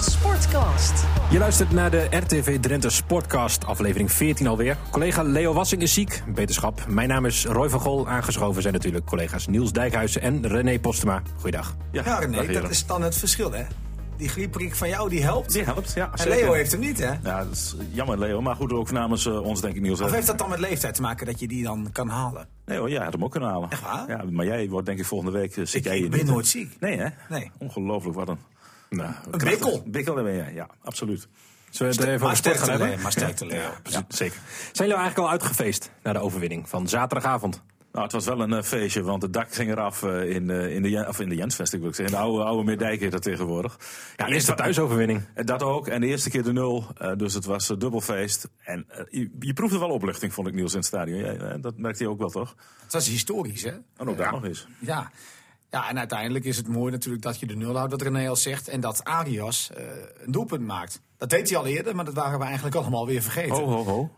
Sportcast. Je luistert naar de RTV Drenthe Sportcast, aflevering 14 alweer. Collega Leo Wassing is ziek, beterschap. Mijn naam is Roy van Gol, aangeschoven zijn natuurlijk collega's Niels Dijkhuizen en René Postema. Goeiedag. Ja, dag, nee, heren. dat is dan het verschil, hè? Die griepprik van jou, die helpt. Die helpt, ja. en zeker. Leo heeft hem niet, hè? Ja, dat is jammer, Leo. Maar goed, ook namens eh, ons, denk ik, Niels. Of heeft dat dan met leeftijd te maken dat je die dan kan halen? Nee hoor, jij had hem ook kunnen halen. Echt waar? Ja, maar jij wordt denk ik volgende week eh, zit Ik- jij ik hier ben niet. nooit ziek. Nee hè? Nee. Ongelooflijk, wat een... Nou, Een krachtig- bikkel. Bikkel daar ben jij, ja, absoluut. Zullen we het even maar over sport gaan sterkte, hebben? Leo. Maar sterkte, Leo. Ja, zeker. Zijn jullie eigenlijk al uitgefeest na de overwinning van zaterdagavond? Nou, het was wel een eh, feestje, want het dak ging eraf eh, in, eh, in, de, Jen- of in de Jensvest, ik wil ik zeggen. In de oude, oude Meerdijk heet dat tegenwoordig. Ja, eerst de thuisoverwinning. En Eh, Dat ook. En de eerste keer de nul. eh, dus het was eh, dubbelfeest. En eh, je, je proefde wel opluchting, vond ik, Niels, in het stadion. Jij, eh, dat merkte je ook wel, toch? Het was historisch, hè? En ook Oh, nou, daar nog eens. Ja. Ja, en uiteindelijk is het mooi natuurlijk dat je de nul houdt, dat René al zegt. En dat Arias eh, een doelpunt maakt. Dat deed hij al eerder, maar dat waren we eigenlijk allemaal weer vergeten. Ho, ho, ho.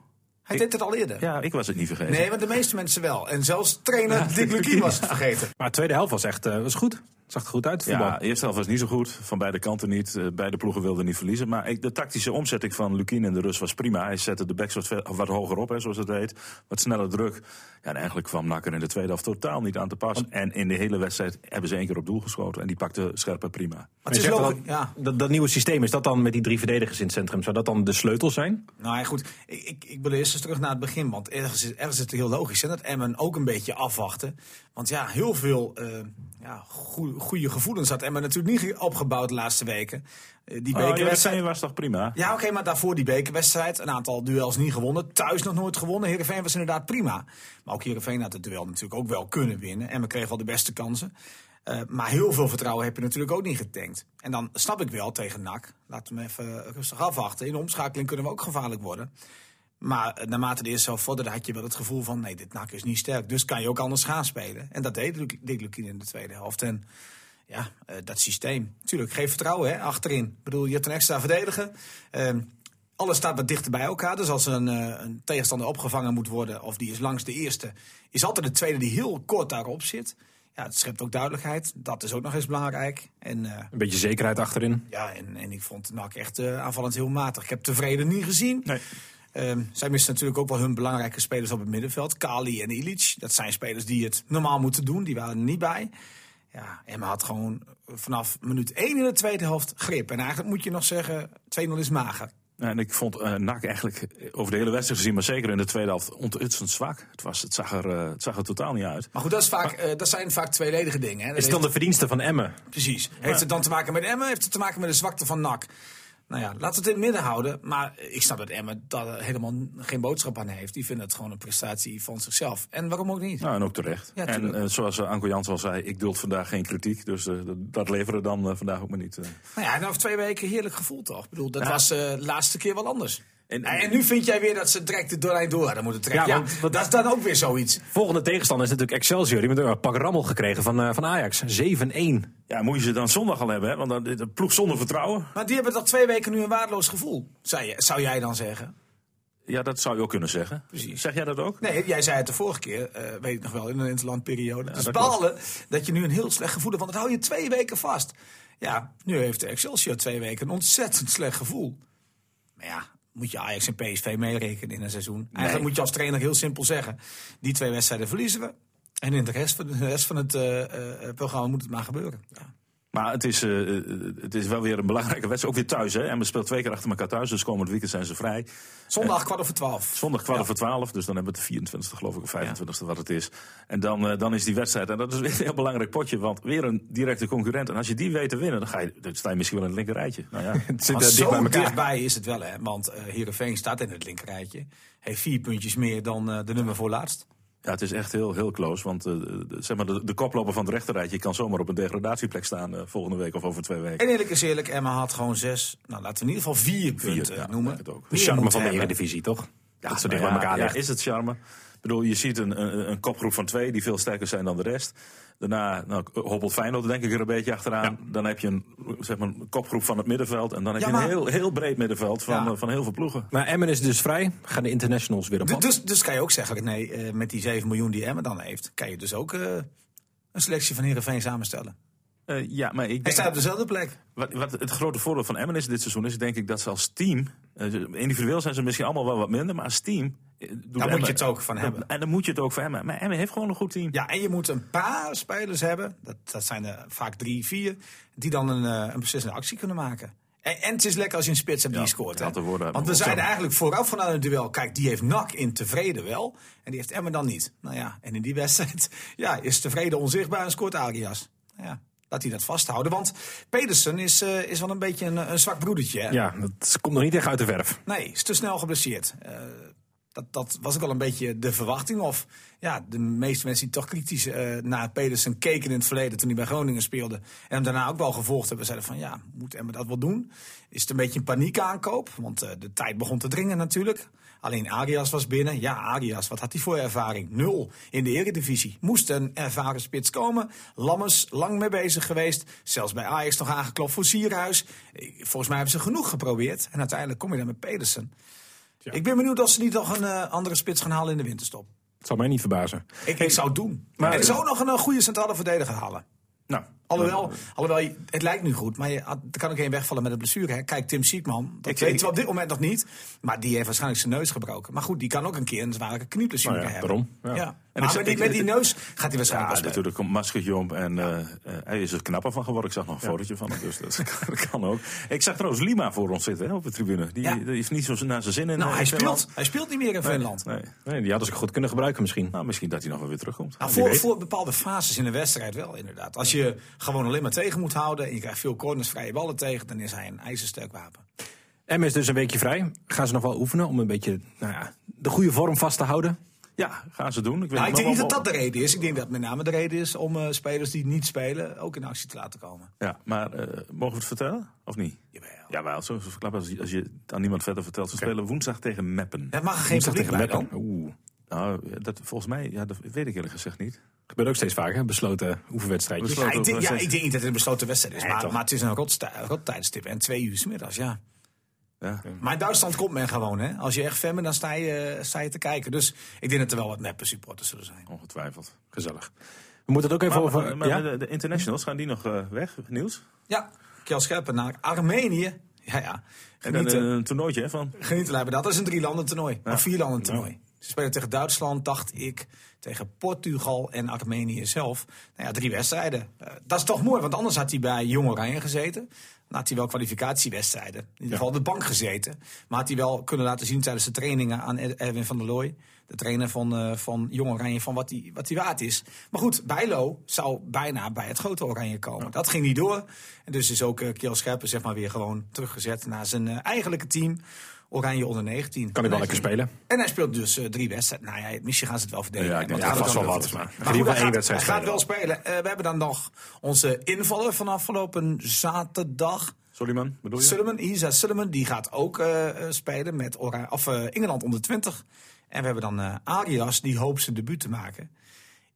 hij deed het al eerder. Oh, Ja, ik was het niet vergeten. Nee, want de meeste mensen wel. En zelfs trainer Dick Lukien was het vergeten. Maar de tweede helft was echt eh, was goed. Zag er goed uit, het voetbal. Ja, de eerste helft was niet zo goed. Van beide kanten niet. Eh, Beide ploegen wilden niet verliezen. Maar ik- de tactische omzetting van Lukien en de Rus was prima. Hij zette de backs wat, ver- wat hoger op, hè, zoals het heet. Wat sneller druk. Ja, en eigenlijk kwam Nakker in de tweede helft totaal niet aan te pas. En in de hele wedstrijd hebben ze één keer op doel geschoten. En die pakte Scherpen prima. Maar Je het is zegt logisch. dan, Ja. dat, dat nieuwe systeem, is dat dan met die drie verdedigers in het centrum, zou dat dan de sleutel zijn? Nou ja, goed. Ik, ik, ik wil eerst eens terug naar het begin. Want ergens is, ergens is het heel logisch hè, dat Emmen ook een beetje afwachten. Want ja, heel veel eh, ja, goe- goede gevoelens had Emmen natuurlijk niet opgebouwd de laatste weken. Eh, Oh, die ja, dat bekerwedstrijd. zijn was toch prima? ja, oké, maar daarvoor die bekerwedstrijd. Een aantal duels niet gewonnen. Thuis nog nooit gewonnen. Heerenveen was inderdaad prima. Maar ook Heerenveen had het duel natuurlijk ook wel kunnen winnen. Emmen kreeg wel de beste kansen. Eh, maar heel veel vertrouwen heb je natuurlijk ook niet getankt. En dan snap ik wel tegen NAC. Laten we hem even rustig afwachten. In de omschakeling kunnen we ook gevaarlijk worden. Maar eh, naarmate de eerste helft vorderde, had je wel het gevoel van... nee, dit NAC is niet sterk, dus kan je ook anders gaan spelen. En dat deed Lu- Dick Lukien in de tweede helft. En ja, eh, dat systeem. Tuurlijk, geef vertrouwen hè, achterin. Ik bedoel, je hebt een extra verdediger. Ehm, alles staat wat dichter bij elkaar. Dus als een, eh, een tegenstander opgevangen moet worden... of die is langs de eerste, is altijd de tweede die heel kort daarop zit. Ja, het schept ook duidelijkheid. Dat is ook nog eens belangrijk. En... eh, Een beetje zekerheid achterin. ja, en, en ik vond NAC echt eh, aanvallend heel matig. Ik heb tevreden niet gezien. Ehm, zij missen natuurlijk ook wel hun belangrijke spelers op het middenveld. Kali en Ilic. Dat zijn spelers die het normaal moeten doen. Die waren er niet bij. Ja, Emma had gewoon vanaf minuut 1 in de tweede helft grip. En eigenlijk moet je nog zeggen, 2-0 is mager. En ik vond eh NAC eigenlijk over de hele wedstrijd gezien, maar zeker in de tweede helft, ontzettend zwak. Het, was, het, zag er, eh, het zag er totaal niet uit. Maar goed, dat, is vaak, eh, dat zijn vaak tweeledige dingen. Hè. Dat Is het dan de verdienste van Emmen? Precies. Heeft het dan te maken met Emmen? Heeft het te maken met de zwakte van NAC? Nou ja, laten we het in het midden houden. Maar ik snap dat Emmen daar helemaal geen boodschap aan heeft. Die vinden het gewoon een prestatie van zichzelf. En waarom ook niet? Nou, en ook terecht. Ja, en tuurlijk. eh, zoals eh, Anko Jans al zei, ik duld vandaag geen kritiek. Dus eh, dat- dat leveren we dan eh, vandaag ook maar niet. eh. Nou ja, en over twee weken heerlijk gevoel toch? Ik bedoel, dat Ja. was eh, de laatste keer wel anders. En, En- en nu vind jij weer dat ze direct de doorlijn door hadden moeten trekken. Ja, Ja, want- want- dat is dan ook weer zoiets. Volgende tegenstander is natuurlijk Excelsior. Die hebben een pak rammel gekregen van, eh, van Ajax. 7-1. Ja, moet je ze dan zondag al hebben, hè? want dan, dit- een ploeg zonder vertrouwen. Maar die hebben toch twee weken nu een waardeloos gevoel, zei je, zou jij dan zeggen? Ja, dat zou je ook kunnen zeggen. Precies. Zeg jij dat ook? Nee, jij zei het de vorige keer, eh, weet ik nog wel, in een interlandperiode. Het is dat balen dat je nu een heel slecht gevoel hebt, want dat hou je twee weken vast. Ja, nu heeft de Excelsior twee weken een ontzettend slecht gevoel. Maar ja, moet je Ajax en PSV meerekenen in een seizoen? Eigenlijk moet je als trainer heel simpel zeggen, die twee wedstrijden verliezen we. En in de rest van, de rest van het eh, eh, eh, programma moet het maar gebeuren. Ja. Maar het is, eh, eh, het is wel weer een belangrijke wedstrijd. Ook weer thuis, hè? En we spelen twee keer achter elkaar thuis, dus komend weekend zijn ze vrij. Zondag Eh, kwart over twaalf. Zondag kwart over twaalf, dus dan hebben we het 24e geloof ik, of 25e wat het is. En dan, eh, dan is die wedstrijd, en dat is weer een heel belangrijk potje, want weer een directe concurrent. En als je die weet te winnen, dan, ga je, dan sta je misschien wel in het linkerrijtje. Nou ja, Het zit Maar eh, dicht zo bij elkaar. dichtbij is het wel, hè? Want eh Heerenveen staat in het linkerrijtje. Heeft vier puntjes meer dan eh, de nummer voor laatst. ja het is echt heel, heel close, want eh, de- zeg maar, de, de koploper van het rechterrijtje kan zomaar op een degradatieplek staan eh, volgende week of over twee weken. En eerlijk is eerlijk, Emma had gewoon zes, nou laten we in ieder geval vier punten ja, noemen. denk het ook. De Meer charme moeten van de hebben. Eredivisie, toch? dat ze Nou dicht bij ja, elkaar ja, ligt. is het charme. Ik bedoel, je ziet een, een, een kopgroep van twee die veel sterker zijn dan de rest. Daarna nou, hobbelt Feyenoord denk ik er een beetje achteraan. Dan heb je een, zeg maar, een kopgroep van het middenveld. En dan heb Ja, je maar- een heel, heel breed middenveld van, Ja. eh, van heel veel ploegen. Maar Emmen is dus vrij. Gaan de internationals weer op Du- pad? Dus, dus kan je ook zeggen, nee, eh, met die 7 miljoen die Emma dan heeft, kan je dus ook eh, een selectie van Heerenveen samenstellen. Eh, ja, maar ik Hij denk, staat op dezelfde plek. wat, wat het grote voordeel van Emmen is dit seizoen is, denk ik dat ze als team, eh, individueel zijn ze misschien allemaal wel wat minder, maar als team eh, doet Daar moet Emmen- je het ook van hebben. En dan moet je het ook voor Emmen. Maar Emmen heeft gewoon een goed team. Ja, en je moet een paar spelers hebben, dat, dat zijn er vaak drie, vier, die dan een, eh, een beslissende actie kunnen maken. En, en het is lekker als je een spits hebt die Ja, scoort. ik had hè. de woorden uit Want we mijn mond. zeiden eigenlijk vooraf vanuit het duel, kijk, die heeft NAC in tevreden wel, en die heeft Emmen dan niet. Nou ja, en in die wedstrijd ja, is tevreden onzichtbaar en scoort Arias. Nou ja, laat hij dat vasthouden, want Pedersen is, eh, is wel een beetje een, een zwak broedertje. hè. Ja, dat komt nog niet echt uit de verf. Nee, is te snel geblesseerd. Eh, dat, dat was ook al een beetje de verwachting. Of ja, de meeste mensen die toch kritisch eh, naar Pedersen keken in het verleden toen hij bij Groningen speelde. En hem daarna ook wel gevolgd hebben. Zeiden van ja, moet Emmer dat wel doen? Is het een beetje een paniek aankoop? Want eh, de tijd begon te dringen natuurlijk. Alleen Arias was binnen. Ja, Arias, wat had hij voor ervaring? Nul in de eredivisie. Moest een ervaren spits komen. Lammers, lang mee bezig geweest. Zelfs bij Ajax nog aangeklopt voor Sierhuis. Eh, Volgens mij hebben ze genoeg geprobeerd. En uiteindelijk kom je dan met Pedersen. Ik ben benieuwd of ze niet nog een eh, andere spits gaan halen in de winterstop. Het zal mij niet verbazen. Ik, ik zou het doen. Maar- ik zou nog een, eh, goede centrale verdediger halen. Nou, Alhoewel, alhoewel, je- het lijkt nu goed, maar je, had- er kan ook één wegvallen met een blessure. Hè. Kijk, Tim Siekman, dat Ik- weten ik- we op dit moment nog niet. Maar die heeft waarschijnlijk zijn neus gebroken. Maar goed, die kan ook een keer een zware knieblessure Nou ja, hebben. daarom, ja. Ja. En Maar ik- met, die, ik- met die neus gaat hij Ja, waarschijnlijk wel spelen. natuurlijk komt Maskerjomp en eh, eh, hij is er knapper van geworden. Ik zag nog een fotootje van hem, dus dat kan, kan ook. Ik zag trouwens Lima voor ons zitten hè, op de tribune. Die, Ja. die heeft niet zo naar zijn zin in. Nou, eh, hij in Finland. speelt, hij speelt niet meer in Finland. Nee. Nee, die hadden ze goed kunnen gebruiken misschien. Nou, misschien dat hij nog wel weer terugkomt. Nou, Wie voor, weet. voor bepaalde fases in de wedstrijd wel, inderdaad. Als je gewoon alleen maar tegen moet houden en je krijgt veel corners, vrije ballen tegen, dan is hij een ijzersterk wapen. M is dus een weekje vrij. Gaan ze nog wel oefenen om een beetje nou ja, de goede vorm vast te houden? Ja, gaan ze doen. Ik, weet Nou, ik nog denk niet dat wel- dat de reden is. Ik denk dat met name de reden is om eh, spelers die niet spelen ook in actie te laten komen. Ja, maar eh, mogen we het vertellen? Of niet? Jawel. Ja, wel. Zo, zo verklappen als, je- als je het aan niemand verder vertelt. Ze spelen woensdag tegen Meppen. Dat mag er geen publiek bij dan. Oeh. Nou, ja, dat, volgens mij, ja, dat weet ik eerlijk gezegd niet. Gebeurt ook steeds vaker, hè? besloten oefenwedstrijdjes. Ja, Besloten ik denk, ja, wedstrijd. ik denk niet dat het een besloten wedstrijd is. Nee, maar, toch. maar het is een rotsta- rottijdstip. En twee uur 's middags, ja. Ja. Maar in Duitsland komt men gewoon, hè. Als je echt fan bent, dan sta je, eh, sta je te kijken. Dus ik denk dat er wel wat neppe supporters zullen zijn. Ongetwijfeld. Gezellig. We moeten het ook even Maar, over... maar- maar ja? de, de internationals, gaan die nog eh, weg, Niels? Ja, Kjell Scherpen naar Armenië. Ja, ja. En dan Genieten. eh, een toernooitje hè, van Genieten lijkt me dat. Dat is een drie landen toernooi. Of vier landen toernooi. Ze spelen tegen Duitsland, dacht ik. Tegen Portugal en Armenië zelf. Nou ja, drie wedstrijden. Eh, dat is toch mooi, want anders had hij bij Jong Oranje gezeten. Dan had hij wel kwalificatiewedstrijden. In ieder geval op de bank gezeten. Maar had hij wel kunnen laten zien tijdens de trainingen aan Ed- Erwin van der Looy. De trainer van, eh, van Jong Oranje, van wat hij wat hij waard is. Maar goed, Bijlo zou bijna bij het grote Oranje komen. Dat ging niet door. En dus is ook eh Kiel Scherpen zeg maar, weer gewoon teruggezet naar zijn eh, eigenlijke team. Oranje onder 19. Kan ik wel En hij- lekker spelen. En hij speelt dus eh, drie wedstrijden. Nou ja, misschien gaan ze het wel verdelen. Ja, ik denk Want dat hij vast gaat wel het wat. wel Maar doen. in ieder geval één goed, hij gaat- wedstrijd Hij gaat wel spelen. Eh, we hebben dan nog onze invaller van afgelopen zaterdag. Soliman, Oh bedoel je? Sullivan, Isa Sullivan, die gaat ook eh, eh, spelen met Ora- of, eh, Engeland onder 20. En we hebben dan eh, Arias, die hoopt zijn debuut te maken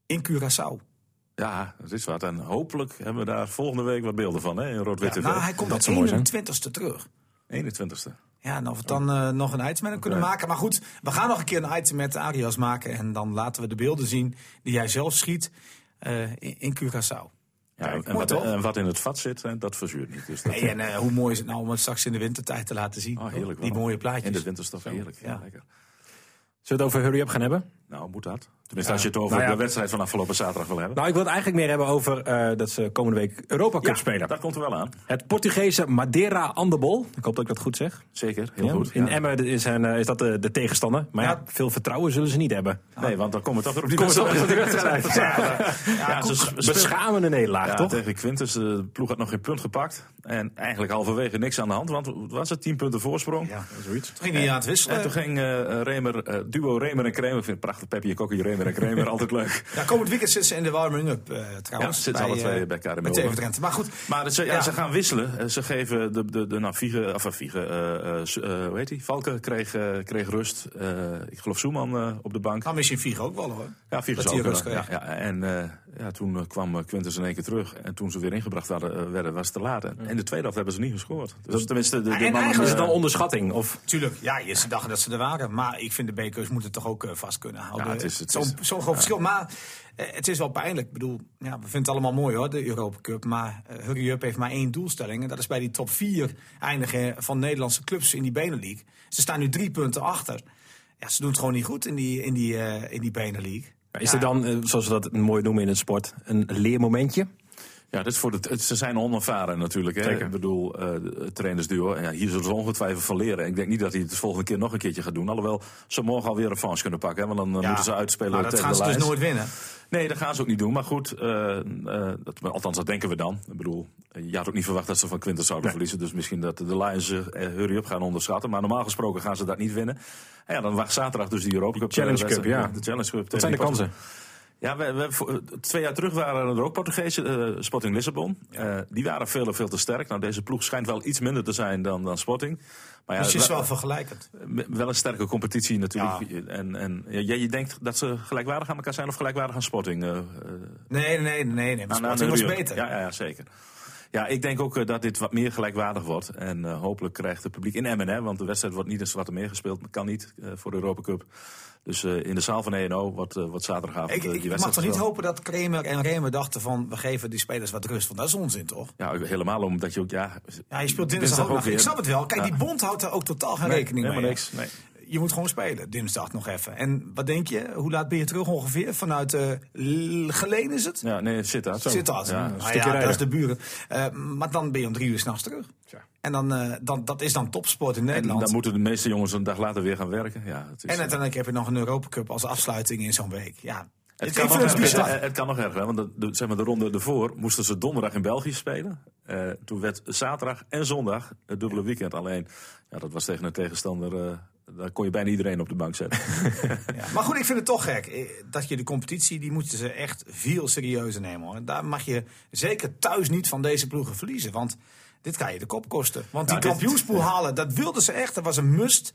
in Curaçao. Ja, dat is wat. En hopelijk hebben we daar volgende week wat beelden van, hè, in rood-witte nou, hij komt dat de zou mooi zijn. 21ste terug. 21ste. Ja, en of we dan eh, nog een item met hem kunnen Oh. Oké. maken. Maar goed, we gaan nog een keer een item met Arias maken. En dan laten we de beelden zien die hij zelf schiet eh, in, in Curaçao. Ja, en, mooi wat, toch? en wat in het vat zit, hè, dat verzuurt niet. Dus dat, Hey, en eh, hoe mooi is het nou om het straks in de wintertijd te laten zien? oh, heerlijk die wel. mooie In de plaatjes. winterstof, heerlijk. Ja. Ja. lekker. Zullen we het over hurry-up gaan hebben? Nou, moet dat? Tenminste, als je het over Nou ja. de wedstrijd van afgelopen zaterdag wil hebben. Nou, ik wil het eigenlijk meer hebben over eh, dat ze komende week Europa Cup spelen. dat komt er wel aan. Het Portugese Madeira Andebol. Ik hoop dat ik dat goed zeg. Zeker, heel Ja, goed. In ja. Emmen is, hen, eh, is dat de, de tegenstander. Maar ja. Ja. veel vertrouwen zullen ze niet hebben. Nee, want dan komen we toch weer op die Kom eens op met die wedstrijd. wedstrijd. Ja, ze sp- spelen- Beschamende nederlaag, Ja, toch? Tegen Quintus, eh, de ploeg had nog geen punt gepakt. En eigenlijk halverwege niks aan de hand, want wat was het 10 punten voorsprong. Ja. Zoiets. Toen ging hij aan het wisselen. En toen ging eh, Remer, eh, duo Remer en Kremer, ik vind het prachtig, Pepje Kokkie, Remer en Kremer, altijd leuk. Ja, komend weekend zitten ze in de warming-up eh, trouwens. Ja, zitten bij, alle twee eh, bij elkaar in Bij Melbourne. TV Drenthe. Maar goed, Maar ze, ja, Ja. ze gaan wisselen. Eh, Ze geven de, de, de nou, Viege, of eh, Viege, eh, eh, s- eh, hoe heet die? Valken kreeg, eh, kreeg rust. Eh, ik geloof Zoeman eh, op de bank. dan is je Vigo ook wel hoor. Ja, Viege dat is hij ook wel. rust Ja, kreeg. ja, en eh, Ja, toen eh, kwam eh, Quintus in één keer terug. En toen ze weer ingebracht waren, eh, werden, was het te laat. En in de tweede helft hebben ze niet gescoord. Dus tenminste, de, de en mannen- eigenlijk Is het eh, dan onderschatting? Of Tuurlijk, ja, ze dachten dat ze er waren. Maar ik vind de B-keus moeten toch ook eh, vast kunnen houden. Ja, het is- het Zo'n is- zo'n groot verschil. Maar eh, het is wel pijnlijk. Ik bedoel, ja, we vinden het allemaal mooi hoor, de Europa Cup. Maar eh, Hurry Up heeft maar één doelstelling. En dat is bij die top 4 eindigen van Nederlandse clubs in die Benelux. Ze staan nu drie punten achter. Ja, ze doen het gewoon niet goed in die, in die, eh, in die Benelux. is er dan, eh, zoals we dat mooi noemen in het sport, een leermomentje? Ja, dit is voor de, het- ze zijn onervaren natuurlijk. Hè? Zeker. Ik bedoel, eh, het trainersduo. En Ja, hier zullen ze ongetwijfeld van leren. Ik denk niet dat hij het de volgende keer nog een keertje gaat doen. Alhoewel ze morgen alweer een fans kunnen pakken. Hè? Want dan eh, moeten ze uitspelen Maar dat tegen gaan de ze dus Lions. nooit winnen. Nee, dat gaan ze ook niet doen. Maar goed, eh, eh, dat, althans dat denken we dan. Ik bedoel, eh, je had ook niet verwacht dat ze van Quintus zouden verliezen. Dus misschien dat de Lions eh, eh, hurry-up gaan onderschatten. Maar normaal gesproken gaan ze dat niet winnen. En ja, dan wacht zaterdag dus die Europa Cup. Challenge eh, wedstrijd. Cup, ja. De Challenge Cup. Wat zijn de kansen? Ja, we, we, voor- eh, twee jaar terug waren er ook Portugezen, eh, Sporting Lissabon. Eh, die waren veel en veel te sterk. Nou, deze ploeg schijnt wel iets minder te zijn dan, dan Sporting. Maar ja, Dus het is we- wel vergelijkend. wel een sterke competitie natuurlijk. En, en ja, jij- je denkt dat ze gelijkwaardig aan elkaar zijn of gelijkwaardig aan Sporting? eh, eh, Nee, nee, nee, nee. Maar aan- aan Sporting Nou, was Uribe. beter. nou, Ja, ja, ja, zeker. Ja, ik denk ook eh, dat dit wat meer gelijkwaardig wordt. En eh, hopelijk krijgt het publiek in Emmen, hè, want de wedstrijd wordt niet in Zwarte Meer gespeeld. maar Kan niet eh, voor de Europa Cup. Dus eh, in de zaal van ENO wordt, eh, wordt zaterdagavond Ik, eh, ik die mag wedstrijd toch niet gespeeld. hopen dat Kramer en Remer dachten van... we geven die spelers wat rust, want dat is onzin, toch? Ja, helemaal omdat je ook... Ja, Ja, je speelt dinsdag, ook nog. weer. Ik snap het wel. Kijk, Ja. die bond houdt daar ook totaal geen Nee, rekening mee. helemaal niks. Nee. Je moet gewoon spelen, dinsdag nog even. En wat denk je? Hoe laat ben je terug ongeveer? Vanuit eh L- Geleen is het? Ja, nee, zit daar. zo. Zit dat? Ja, Ja, een nou stukje ja, dat rijden. is de buren. Eh, maar dan ben je om drie uur s'nachts terug. En dan, eh, dan, dat is dan topsport in En Nederland. dan moeten de meeste jongens een dag later weer gaan werken. Ja, het is, en uiteindelijk heb je nog een Europa Cup als afsluiting in zo'n week. Ja, Het kan, Ik vind nog het erger, bizar. het, het kan nog erger, hè, want de, de- zeg maar, de ronde ervoor moesten ze donderdag in België spelen. Eh, toen werd zaterdag en zondag het dubbele weekend. Alleen, ja, dat was tegen een tegenstander, eh, daar kon je bijna iedereen op de bank zetten. Ja, maar goed, ik vind het toch gek. eh, Dat je de competitie, die moeten ze echt veel serieuzer nemen. Hoor. Daar mag je zeker thuis niet van deze ploegen verliezen. Want dit kan je de kop kosten. Want Ja, die dit- kampioenspoel halen, dat wilden ze echt. Dat was een must.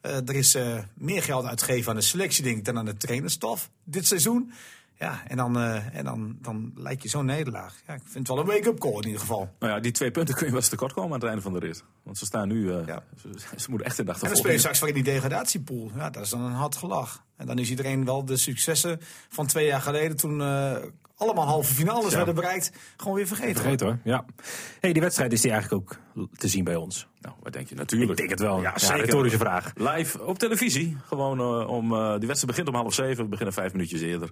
Eh, er is eh, meer geld uitgegeven aan de selectie, denk ik, dan aan de trainerstaf dit seizoen. Ja, en dan, eh, en dan, dan lijkt je zo'n nederlaag. Ja, ik vind het wel een wake-up call in ieder geval. nou ja, die twee punten kun je wel eens tekort komen aan het einde van de rit. Want ze staan nu, eh, Ja. ze, ze moeten echt in de En dan speel je achtervolging. straks weer in die degradatiepool. Ja, dat is dan een hard gelach. En dan is iedereen wel de successen van twee jaar geleden toen eh, allemaal halve finales Ja. werden bereikt, gewoon weer vergeten. Vergeet hoor. Ja. Hey, die wedstrijd is die eigenlijk ook te zien bij ons. Nou, wat denk je? Ik Natuurlijk. denk het wel. Ja, Ja, zeker. retorische vraag. Live op televisie. Gewoon eh, om. eh, die wedstrijd begint om half zeven. We beginnen vijf minuutjes eerder.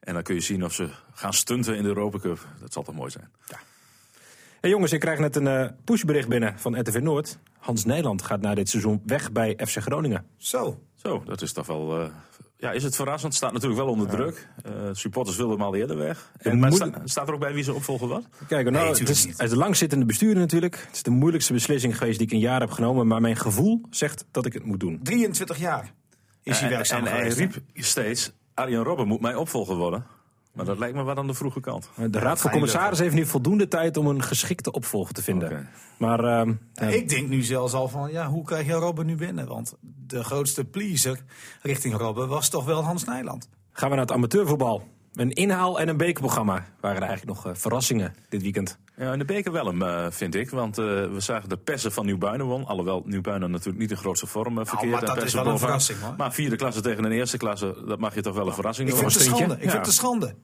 En dan kun je zien of ze gaan stunten in de Europa Cup. Dat zal toch mooi zijn. Hey jongens, ik krijg net een eh, pushbericht binnen van RTV Noord. Hans Nijland gaat na dit seizoen weg bij FC Groningen. Zo. Zo, dat is toch wel. eh, ja, is het verrassend? Staat natuurlijk wel onder druk. Eh, supporters wilden hem al eerder weg. En, maar moet- sta- staat er ook bij wie ze opvolgen wat? Kijk, nou, het, is, het is de langzittende bestuurder natuurlijk. Het is de moeilijkste beslissing geweest die ik in jaren heb genomen. Maar mijn gevoel zegt dat ik het moet doen. 23 jaar is hij Eh, En- werkzaam en hij geweest. hè? riep steeds: Arjen Robben moet mijn opvolger worden. Maar dat lijkt me wat aan de vroege kant. De Raad van ga je Commissaris heeft nu voldoende tijd om een geschikte opvolger te vinden. Oké. Maar ehm, Ja, Ik denk nu zelfs al van, ja, hoe krijg je Robben nu binnen? Want de grootste pleaser richting Robben was toch wel Hans Nijland. gaan we naar het amateurvoetbal. Een inhaal- en een bekerprogramma waren er eigenlijk nog eh, verrassingen dit weekend. Ja, in de beker wel hem, eh, vind ik. Want eh, we zagen de persen van Nieuwbuinen won. Alhoewel Nieuwbuinen natuurlijk niet de grootste vorm eh, verkeert. Nou, maar en dat is persen wel een bovenaan. verrassing, hoor. Maar vierde klasse tegen een eerste klasse, dat mag je toch wel een verrassing Ik vind het noemen. een schande. Ik Ja. vind het een schande.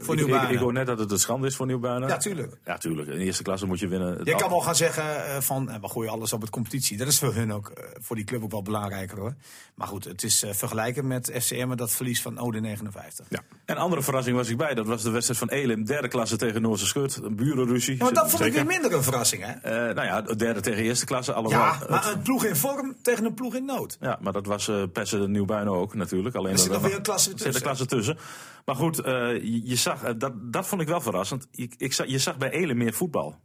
Voor Ik- ik, ik hoor Nieuwbaarden. net dat het een schande is voor Nieuwbuinen. Ja, tuurlijk. Ja, tuurlijk. In de eerste klasse moet je winnen. Je kan wel gaan zeggen eh, van eh, we gooien alles op het competitie. Dat is voor hun ook, eh, voor die club ook wel belangrijker hoor. Maar goed, het is eh, vergelijken met FCM dat verlies van Ode 59. Ja. Een andere verrassing was ik bij. Dat was de wedstrijd van Elim, derde klasse tegen Noorse Schut. Een burenruzie. Ja, maar dat vond ik Zeker. weer minder een verrassing hè. Eh, nou ja, derde tegen eerste klasse. Alhoewel, Ja, het- maar eh, een ploeg in vorm tegen een ploeg in nood. Ja, maar dat was eh Pessen Nieuwbuinen ook natuurlijk. Alleen Er zit dat- nog weer een klasse er zit tussen. klasse tussen. Maar goed, eh, je, je zag, eh, dat, dat vond ik wel verrassend. Ik, ik zag, je zag bij Elen meer voetbal.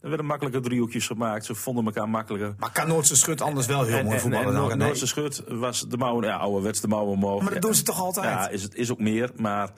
Er werden makkelijker driehoekjes gemaakt. Ze vonden elkaar makkelijker. Maar kan Noordse Schut anders wel heel En- mooi en- voetballen en dan Noor- René? Noorse Schut was de mouwen, ja, ouderwets de mouwen omhoog. Maar dat doen ze toch Ja, altijd? is, het is ook meer. Maar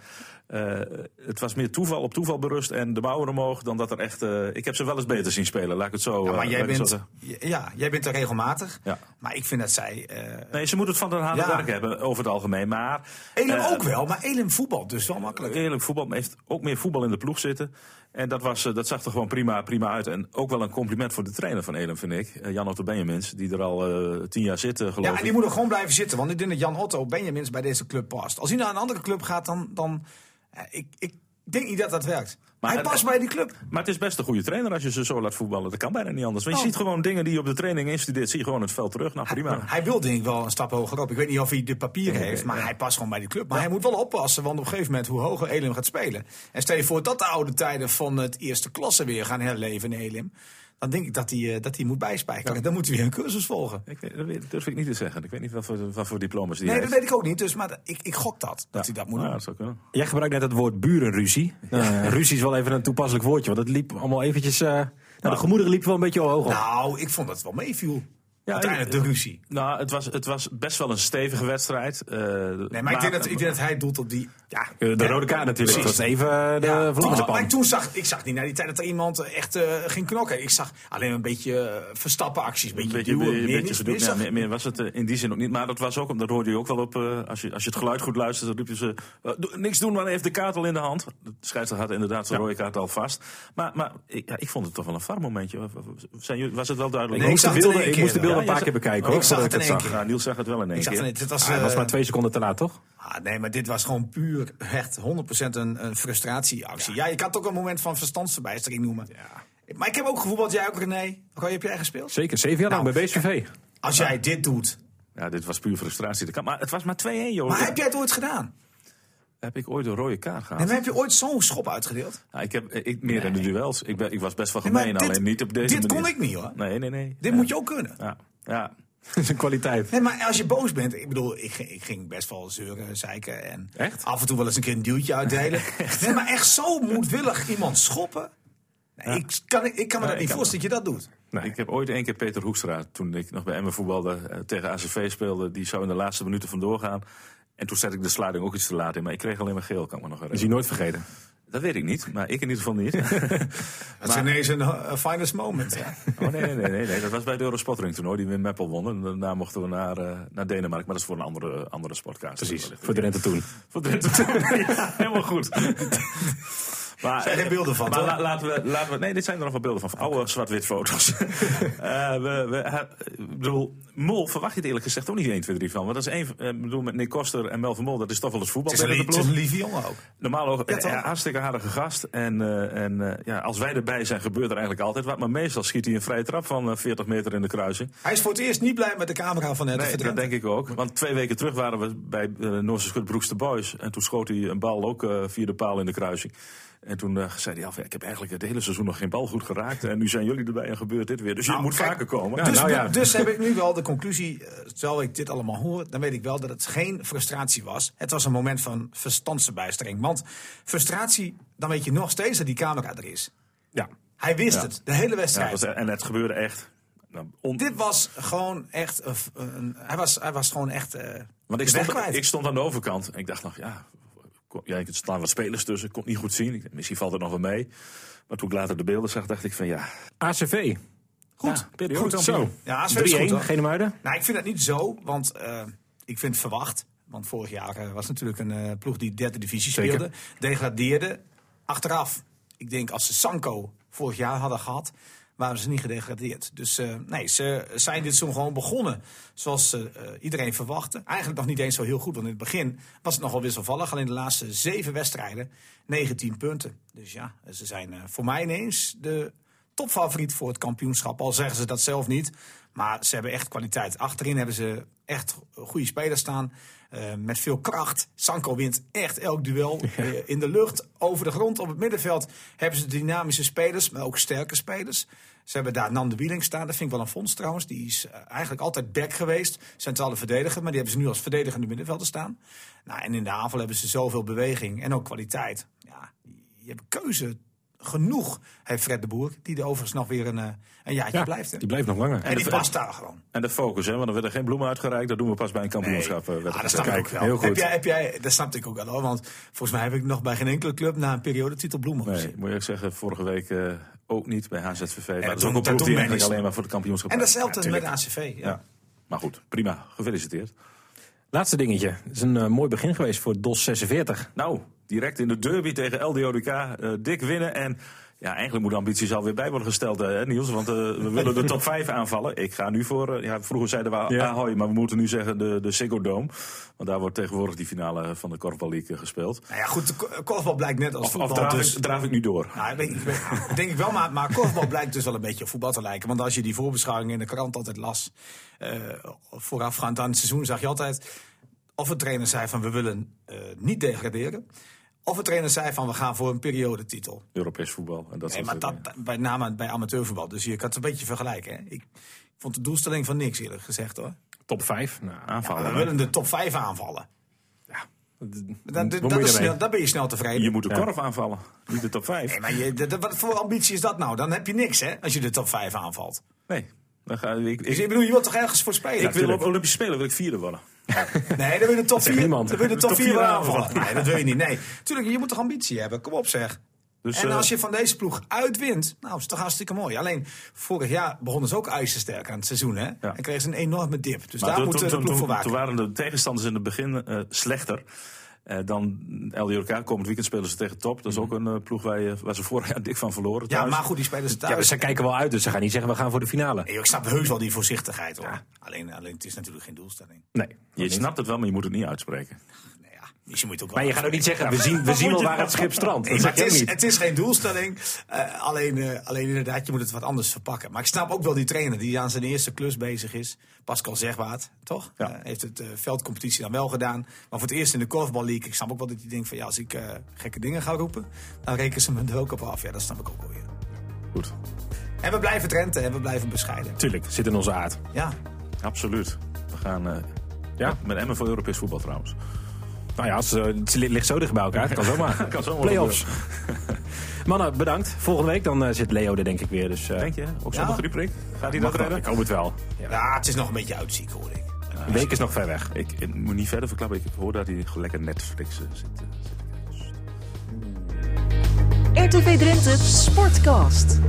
eh, eh, het was meer toeval op toeval berust en de mouwen omhoog dan dat er echt... eh, ik heb ze wel eens beter zien spelen, laat ik het zo... Ja, eh, maar jij laat ik het zo bent, zeggen. ja, jij bent er regelmatig. Ja. Maar ik vind dat zij. eh Nee, ze moeten het van hun harde Ja. werk hebben, over het algemeen. Maar Elim eh, ook wel, maar Elim voetbal dus wel makkelijk. Eerlijk voetbal maar heeft ook meer voetbal in de ploeg zitten. En dat, was, eh, dat zag er gewoon prima, prima uit. En ook wel een compliment voor de trainer van Elem, vind ik. Eh, Jan Otto Benjamins, die er al eh, tien jaar zit, eh, geloof Ja, en ik. die moet er gewoon blijven zitten. Want ik denk dat Jan Otto Benjamins bij deze club past. Als hij naar een andere club gaat, dan. dan eh, ik, ik denk niet dat dat werkt. Maar hij het- past bij die club. Maar het is best een goede trainer als je ze zo laat voetballen. Dat kan bijna niet anders. Want je Oh. ziet gewoon dingen die je op de training instudeert, zie je gewoon het veld terug. Nou, prima. Hij wil denk ik wel een stap hoger op. Ik weet niet of hij de papieren Oké, heeft, maar ja. hij past gewoon bij die club. Maar hij moet wel oppassen, want op een gegeven moment hoe hoger Elim gaat spelen. En stel je voor dat de oude tijden van het eerste klasse weer gaan herleven in Elim. Dan denk ik dat hij, eh, dat hij moet bijspijkeren. Dan moet hij weer een cursus volgen. Ik weet, dat weet- durf ik niet te zeggen. Ik weet niet wat voor, wat voor diplomas die Nee, heeft. dat weet ik ook niet. Dus, maar ik, ik gok dat, dat Ja. hij dat moet Ja, doen. dat zou kunnen. Jij gebruikt net het woord burenruzie. Nou, ruzie is wel even een toepasselijk woordje, want dat liep allemaal eventjes... eh, nou, de gemoederen liep wel een beetje hoog op. Nou, ik vond dat wel meeviel. Ja, Uiteindelijk ik- de ruzie. Nou, het was, het was best wel een stevige wedstrijd. Eh, Nee, maar ik denk, dat, ik denk dat hij doelt op die... Ja, Eh, De rode kaart natuurlijk, Precies. dat is even eh, de Ja, vlam in de maar pan. toen zag ik zag niet naar die tijd dat er iemand echt eh, ging knokken. Ik zag alleen een beetje eh, verstappen acties, een beetje, Een beetje, duwen, een meer, beetje niks gedoe. meer. Ja, Zag- meer, meer was het eh, in die zin ook niet. Maar dat was ook, om- dat hoorde je ook wel op. eh, als, je, als je het geluid goed luistert, dan riepen ze. eh, "Doe- niks doen, maar hij heeft de kaart al in de hand. De scheidsrechter had inderdaad zijn rode kaart al vast. Maar, maar ik, ja, ik vond het toch wel een var momentje. Zijn jullie- was het wel duidelijk? Nee, ik, moest de ik zag het in beelden, één ik moest de keer, beelden ja. een paar Ja, keer je zag- bekijken. ik hoor, zag voordat het ik in één keer. Ja, Niels zag het wel in één ik zag keer. van, nee, dit was, Ah, het was eh, maar twee seconden te laat, toch? ah, nee, maar dit was gewoon puur echt 100% een, een frustratieactie. Ja. je kan het ook een moment van verstandsverbijstering noemen. Maar ik heb ook gevoetbald, jij ook René. Ook al heb jij gespeeld? Zeker, zeven jaar lang Nou, bij BSVV. Als jij dit doet. Ja, dit was puur frustratie. Dat kan- Maar het was maar 2-1, joh. Maar heb jij het ooit gedaan? Heb ik ooit een rode kaart gehad? En heb je ooit zo'n schop uitgedeeld? Ja, ik heb eh, ik, meer in de duels. Ik, ben, ik was best wel Nee, maar gemeen, dit- alleen niet op deze dit manier. kon ik niet, hoor. Nee, nee, nee. Dit Ja. moet je ook kunnen. Ja, ja. Dat is een kwaliteit. Nee, maar als je boos bent, ik bedoel, ik, ging- ik ging best wel zeuren, zeiken en Echt? af en toe wel eens een keer een duwtje uitdelen. nee, maar echt zo moedwillig iemand schoppen. Nee, ik, kan, ik kan me Ja, dat ik niet kan voorstellen dat je dat doet. Ik heb ooit één keer Peter Hoekstra, toen ik nog bij Emmen voetbalde, eh, tegen ACV speelde. Die zou in de laatste minuten vandoor gaan. En toen zette ik de sluiting ook iets te laat in. Maar ik kreeg alleen maar geel, kan ik me nog Dat is herinneren. hij nooit vergeten. Dus Dat weet ik niet, maar ik in ieder geval niet. Dat is ineens een eh, finest moment. Ja. oh, nee, nee, nee, nee, nee. Dat was bij het Eurospotring toernooi, die we in Meppel wonnen. En daarna mochten we naar, eh, naar Denemarken. Maar dat is voor een andere, andere sportkaart. Precies, voor de rente toen. Voor Drenthe Tour. Ja, Helemaal goed. Maar, Zijn er beelden van, Maar toch? la- laten, we, laten we. Nee, dit zijn er nog wel beelden van. van oude zwart-wit foto's. Eh, we, we, eh, ik bedoel, Mol verwacht je het eerlijk gezegd ook niet 1, 2, 3 van. Want dat is één. eh, Ik bedoel, met Nick Koster en Melvin Mol, dat is toch wel eens voetbal. Het is, een, binnen lie- de het is ploeg. een lieve jongen ook. Normaal ook Ja, toch? eh, hartstikke hardige gast. En, eh, en eh, ja, als wij erbij zijn, gebeurt er eigenlijk altijd wat. Maar meestal schiet hij een vrije trap van eh, 40 meter in de kruising. Hij is voor het eerst niet blij met de camera van het Nee, dat denk ik ook. Want twee weken terug waren we bij eh Noorse Schut Broeks de Boys. En toen schoot hij een bal ook eh, via de paal in de kruising. En toen eh, zei hij af, ja, ik heb eigenlijk het hele seizoen nog geen bal goed geraakt. En nu zijn jullie erbij en gebeurt dit weer. Dus je Nou, moet kijk, vaker komen. dus, dus, nou ja. dus heb ik nu wel de conclusie, eh, terwijl ik dit allemaal hoor, dan weet ik wel dat het geen frustratie was. Het was een moment van verstandsverbijstering. Want frustratie, dan weet je nog steeds dat die camera er is. Ja. Hij wist het, de hele ja, wedstrijd. dat was- en het gebeurde echt. Nou, on- Dit was gewoon echt. een- een- hij, was, hij was gewoon echt. eh Want ik de weg stond, kwijt. ik stond aan de overkant en ik dacht nog, ja, kon- ja er staan wat spelers tussen. Ik kon het niet goed zien. Ik dacht, Misschien valt het nog wel mee. Maar toen ik later de beelden zag, dacht ik van ja, ACV. goed. periode Goed, zo. kampioen. Ja, ASV 3-1, is goed, hoor. Genemuiden. Nou, ik vind dat niet zo, want eh, ik vind het verwacht. Want vorig jaar eh, was natuurlijk een eh, ploeg die derde divisie Zeker. speelde. Degradeerde. Achteraf, ik denk als ze Sanko vorig jaar hadden gehad, waren ze niet gedegradeerd. Dus eh, nee, ze zijn dit seizoen gewoon begonnen zoals eh, eh, iedereen verwachtte. Eigenlijk nog niet eens zo heel goed, want in het begin was het nogal wisselvallig. Alleen de laatste zeven wedstrijden 19 punten. Dus ja, ze zijn eh, voor mij ineens de topfavoriet voor het kampioenschap. Al zeggen ze dat zelf niet. Maar ze hebben echt kwaliteit. Achterin hebben ze echt goede spelers staan. eh, met veel kracht. Sanko wint echt elk duel. eh, in de lucht, over de grond, op het middenveld. Hebben ze dynamische spelers, maar ook sterke spelers. Ze hebben daar Nam de Wieling staan. Dat vind ik wel een fonds trouwens. Die is eh, eigenlijk altijd back geweest. Centrale verdediger. Maar die hebben ze nu als verdedigende middenvelder staan. Nou, en in de aanval hebben ze zoveel beweging. En ook kwaliteit. Ja, je hebt keuze genoeg heeft Fred de Boer. Die er overigens nog weer een, eh, een jaartje Ja, blijft. hè. die blijft nog langer. en die de- past daar gewoon. En de focus, hè, want er werden geen bloemen uitgereikt. Dat doen we pas bij een kampioenschap. eh, Ah, wedstrijd. dat snap ik Kijk, ook wel. heel goed. Heb jij, heb jij, dat snap ik ook wel hoor. Want volgens mij heb ik nog bij geen enkele club na een periode titel bloemen gezien. Nee, moet je ook zeggen, vorige week eh, ook niet bij HZVV. maar dat is toen- ook een ploeg daar toen die eigenlijk managed- alleen maar voor de kampioenschap En rijdt. datzelfde Ja, met tuurlijk. ACV. Ja. Ja. Maar goed, prima. Gefeliciteerd. Laatste dingetje. Het is een eh, mooi begin geweest voor DOS 46. Nou, direct in de derby tegen LDODK. eh dik winnen en... Ja, eigenlijk moet de ambities alweer bij worden gesteld, hè, Niels? Want eh, we willen de top 5 aanvallen. Ik ga nu voor... eh, ja, vroeger zeiden we Ja. Ahoy, maar we moeten nu zeggen de, de Ziggo Dome. Want daar wordt tegenwoordig die finale van de Korfbal League eh, gespeeld. Nou ja, goed, de ko- korfbal blijkt net als Of, of voetbal. draaf, dus- ik, draaf ik nu door? Nou, ik weet- ik weet- denk ik wel, maar, maar korfbal blijkt dus wel een beetje op voetbal te lijken. Want als je die voorbeschouwing in de krant altijd las, eh, voorafgaand aan het seizoen, zag je altijd of een trainer zei van we willen eh, niet degraderen. Of een trainer zei van we gaan voor een periodetitel. Europees voetbal en dat Nee, soort maar dat dingen. bij name bij amateurvoetbal. Dus je kan het een beetje vergelijken. Hè? Ik vond de doelstelling van niks eerlijk gezegd hoor. Top 5. Nou, Aanvallen. We hè? willen de top 5 aanvallen. dat, Dan, dat, dat moet is je snel, ermee. dan ben je snel tevreden. Je moet de Ja. korf aanvallen, niet de top 5. Nee, maar je, dat- dat- wat voor ambitie is dat nou? Dan heb je niks hè, als je de top 5 aanvalt. Nee. Dan ga, ik, ik, Dus ik bedoel, je wilt toch ergens voor spelen? ik wil tuurlijk. op Olympische Spelen wil ik vierde worden. Nee, dan wil je de top 4 niemand. Dan wil je de top Top 4 vier aanvallen. Nee, dat wil je niet. Nee, tuurlijk, je moet toch ambitie hebben? Kom op zeg. Dus, en eh, als je van deze ploeg uitwint, nou, is toch hartstikke mooi. Alleen, vorig jaar begonnen ze ook ijzersterk aan het seizoen, hè? En kregen ze een enorme dip. Dus daar toen- moeten toen- we de toen- ploeg voor toen- waken. Toen waren de tegenstanders in het begin eh, slechter. eh, dan LDRK. Komend weekend spelen ze tegen Top. Dat is ook een eh, ploeg waar, je, waar ze vorig jaar dik van verloren. Mhm. Ja, thuis. maar goed, die spelen ze Ja, thuis. ze kijken wel uit, dus ze gaan niet zeggen we gaan voor de finale. Nee, ik snap heus wel die voorzichtigheid, hoor. Alleen, alleen, het is natuurlijk geen doelstelling. Nee. Je snapt het wel, maar je moet het niet uitspreken. Nee, ja, misschien moet je het ook wel Maar je gaat ook niet zeggen we zien, we Wat zien moet al je waar nou? het schip strandt. Nee, Dat maar zeg het, je is, ook niet. het is geen doelstelling. Eh, alleen, eh, alleen inderdaad, je moet het wat anders verpakken. Maar ik snap ook wel die trainer die aan zijn eerste klus bezig is. Pascal Zegwaard, toch? Ja. Eh, heeft het eh, veldcompetitie dan wel gedaan. Maar voor het eerst in de korfbal league. Ik snap ook wel dat hij denkt van ja, als ik eh, gekke dingen ga roepen, dan rekenen ze me er ook op af. Ja, dat snap ik ook wel weer. Goed, En we blijven Drenthe en we blijven bescheiden. Tuurlijk, zit in onze aard. Ja, absoluut. We gaan eh, Ja. met Emmen voor Europees voetbal trouwens. Nou ja, als, eh, het li- ligt zo dicht bij elkaar. Het kan zomaar. Kan zomaar Playoffs. Mannen, bedankt. Volgende week dan eh, zit Leo er denk ik weer. Dus, eh, Denk je? Ook zonder Ja. griepprik? Gaat hij mag wel. dat redden? Ik hoop het wel. Ja. ja het is nog een beetje uitziek hoor ik. De week is nog ver weg. Ik, ik moet niet verder verklappen. Ik hoor dat hij lekker Netflix eh, zit. eh, zit te kijken. RTV Drenthe Sportcast.